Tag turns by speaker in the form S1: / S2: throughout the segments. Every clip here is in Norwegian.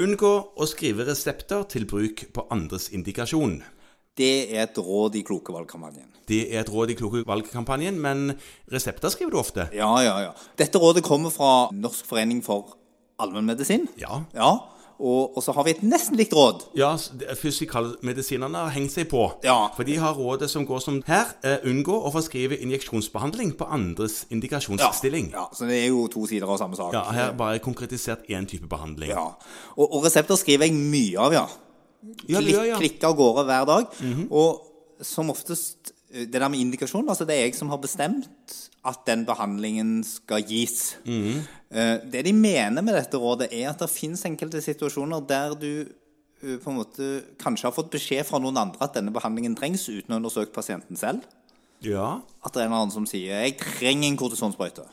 S1: Unngå å skrive resepter til bruk på andres indikasjon.
S2: Det er et råd i kloke valgkampanjen.
S1: Det er et råd i kloke valgkampanjen, men resepter skriver du ofte.
S2: Ja, ja, ja. Dette rådet kommer fra Norsk forening for allmennmedisin.
S1: Ja.
S2: Ja, og, og så har vi et nesten likt råd.
S1: Ja, s- det- fysikalmedisinerne har hengt seg på.
S2: Ja.
S1: For de har rådet som går som her. Eh, unngå å forskrive injeksjonsbehandling på andres indikasjonsstilling.
S2: Ja, så det er jo to sider av samme sak.
S1: Ja, her bare konkretisert én type behandling.
S2: Ja. Og, og resepter skriver jeg mye av, ja.
S1: Ja,
S2: Klikk,
S1: ja, ja.
S2: Klikke av gårde hver dag. Og som oftest eh, Det der med indikasjon, altså det er jeg som har bestemt at den behandlingen skal gis. Eh, Det de mener med dette rådet, er at det fins enkelte situasjoner der du eh, på en måte kanskje har fått beskjed fra noen andre at denne behandlingen trengs, uten å ha undersøkt pasienten selv.
S1: Ja,
S2: At det er en eller annen som sier 'jeg trenger en kortisonsprøyte'.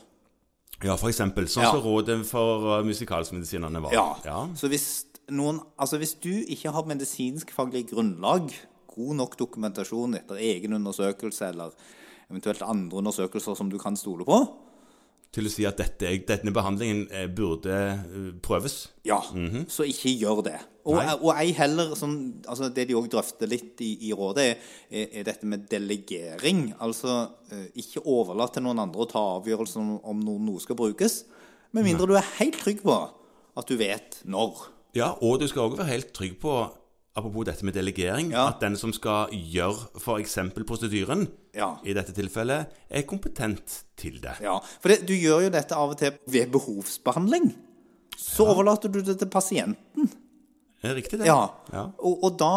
S1: ja for eksempel. Sånn
S2: Ja.
S1: som rådet for eh, musikalmedisinerne var.
S2: Ja.
S1: ja.
S2: Så hvis, noen, altså hvis du ikke har medisinskfaglig grunnlag, god nok dokumentasjon etter egen undersøkelse eller eventuelt andre undersøkelser som du kan stole på,
S1: Til å si at dette, denne behandlingen eh, burde eh, prøves.
S2: ja, så ikke gjør det. Og,
S1: Mhm. Nei.
S2: og ei heller sånn, altså Det de òg drøfter litt i, i rådet, er, er dette med delegering. Altså eh, ikke overlat til noen andre å ta avgjørelsen om, om noe, noe skal brukes, med mindre du er helt trygg på at du vet når.
S1: Ja, og du skal også være helt trygg på, apropos dette med delegering,
S2: Ja.
S1: at den som skal gjøre f.eks. prosedyren,
S2: Ja.
S1: i dette tilfellet, er kompetent til det.
S2: Ja, for det, du gjør jo dette av og til ved behovsbehandling. Så overlater du det til pasienten.
S1: Er det riktig, det?
S2: Ja.
S1: ja.
S2: Og, og da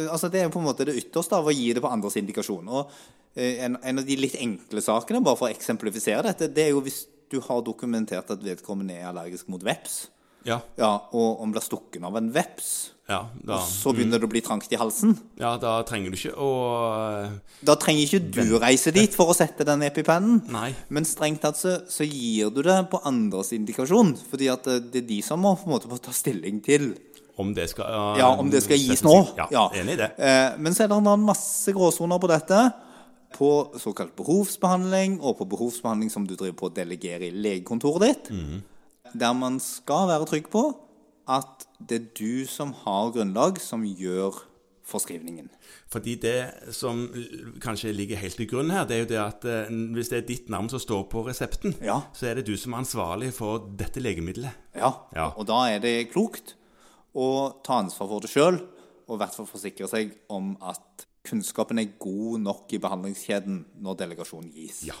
S2: eh, Altså, det er jo på en måte det ytterste av å gi det på andres indikasjon. Og eh, en, en av de litt enkle sakene, bare for å eksemplifisere dette, det er jo hvis du har dokumentert at vedkommende er allergisk mot veps,
S1: Ja,
S2: ja, og om blir stukken av en veps,
S1: ja, Mm. da,
S2: så begynner det å bli trangt i halsen.
S1: ja, da trenger du ikke å
S2: Da trenger ikke du reise dit for å sette den epipennen.
S1: Nei.
S2: Men strengt tatt så, så gir du det på andres indikasjon. Fordi at eh, det- det er de som må på en måte få ta stilling til
S1: Om det skal eh,
S2: ja, om det skal gis
S1: settes
S2: nå.
S1: inn. Ja, Enig i det.
S2: Eh, Men så er det en annen masse gråsoner på dette. På såkalt behovsbehandling, og på behovsbehandling som du driver på å delegere i legekontoret ditt.
S1: Mhm.
S2: Der man skal være trygg på at det er du som har grunnlag, som gjør forskrivningen.
S1: Fordi det som l- kanskje ligger helt i grunnen her, det er jo det at eh, hvis det er ditt navn som står på resepten,
S2: Ja.
S1: så er det du som er ansvarlig for dette legemiddelet.
S2: Ja.
S1: Ja.
S2: Og da er det klokt å ta ansvar for det sjøl, og i hvert fall forsikre seg om at kunnskapen er god nok i behandlingskjeden når delegasjon gis.
S1: Ja.